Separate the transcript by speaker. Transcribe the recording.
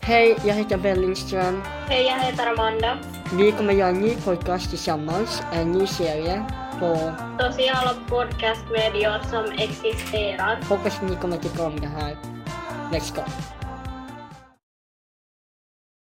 Speaker 1: Hej, jag heter Bellingström.
Speaker 2: Hej, jag heter Amanda.
Speaker 1: Vi kommer göra en ny podcast tillsammans, en ny serie på
Speaker 2: Sociala podcastmedier som existerar.
Speaker 1: Hoppas ni kommer tycka om det här. Let's go!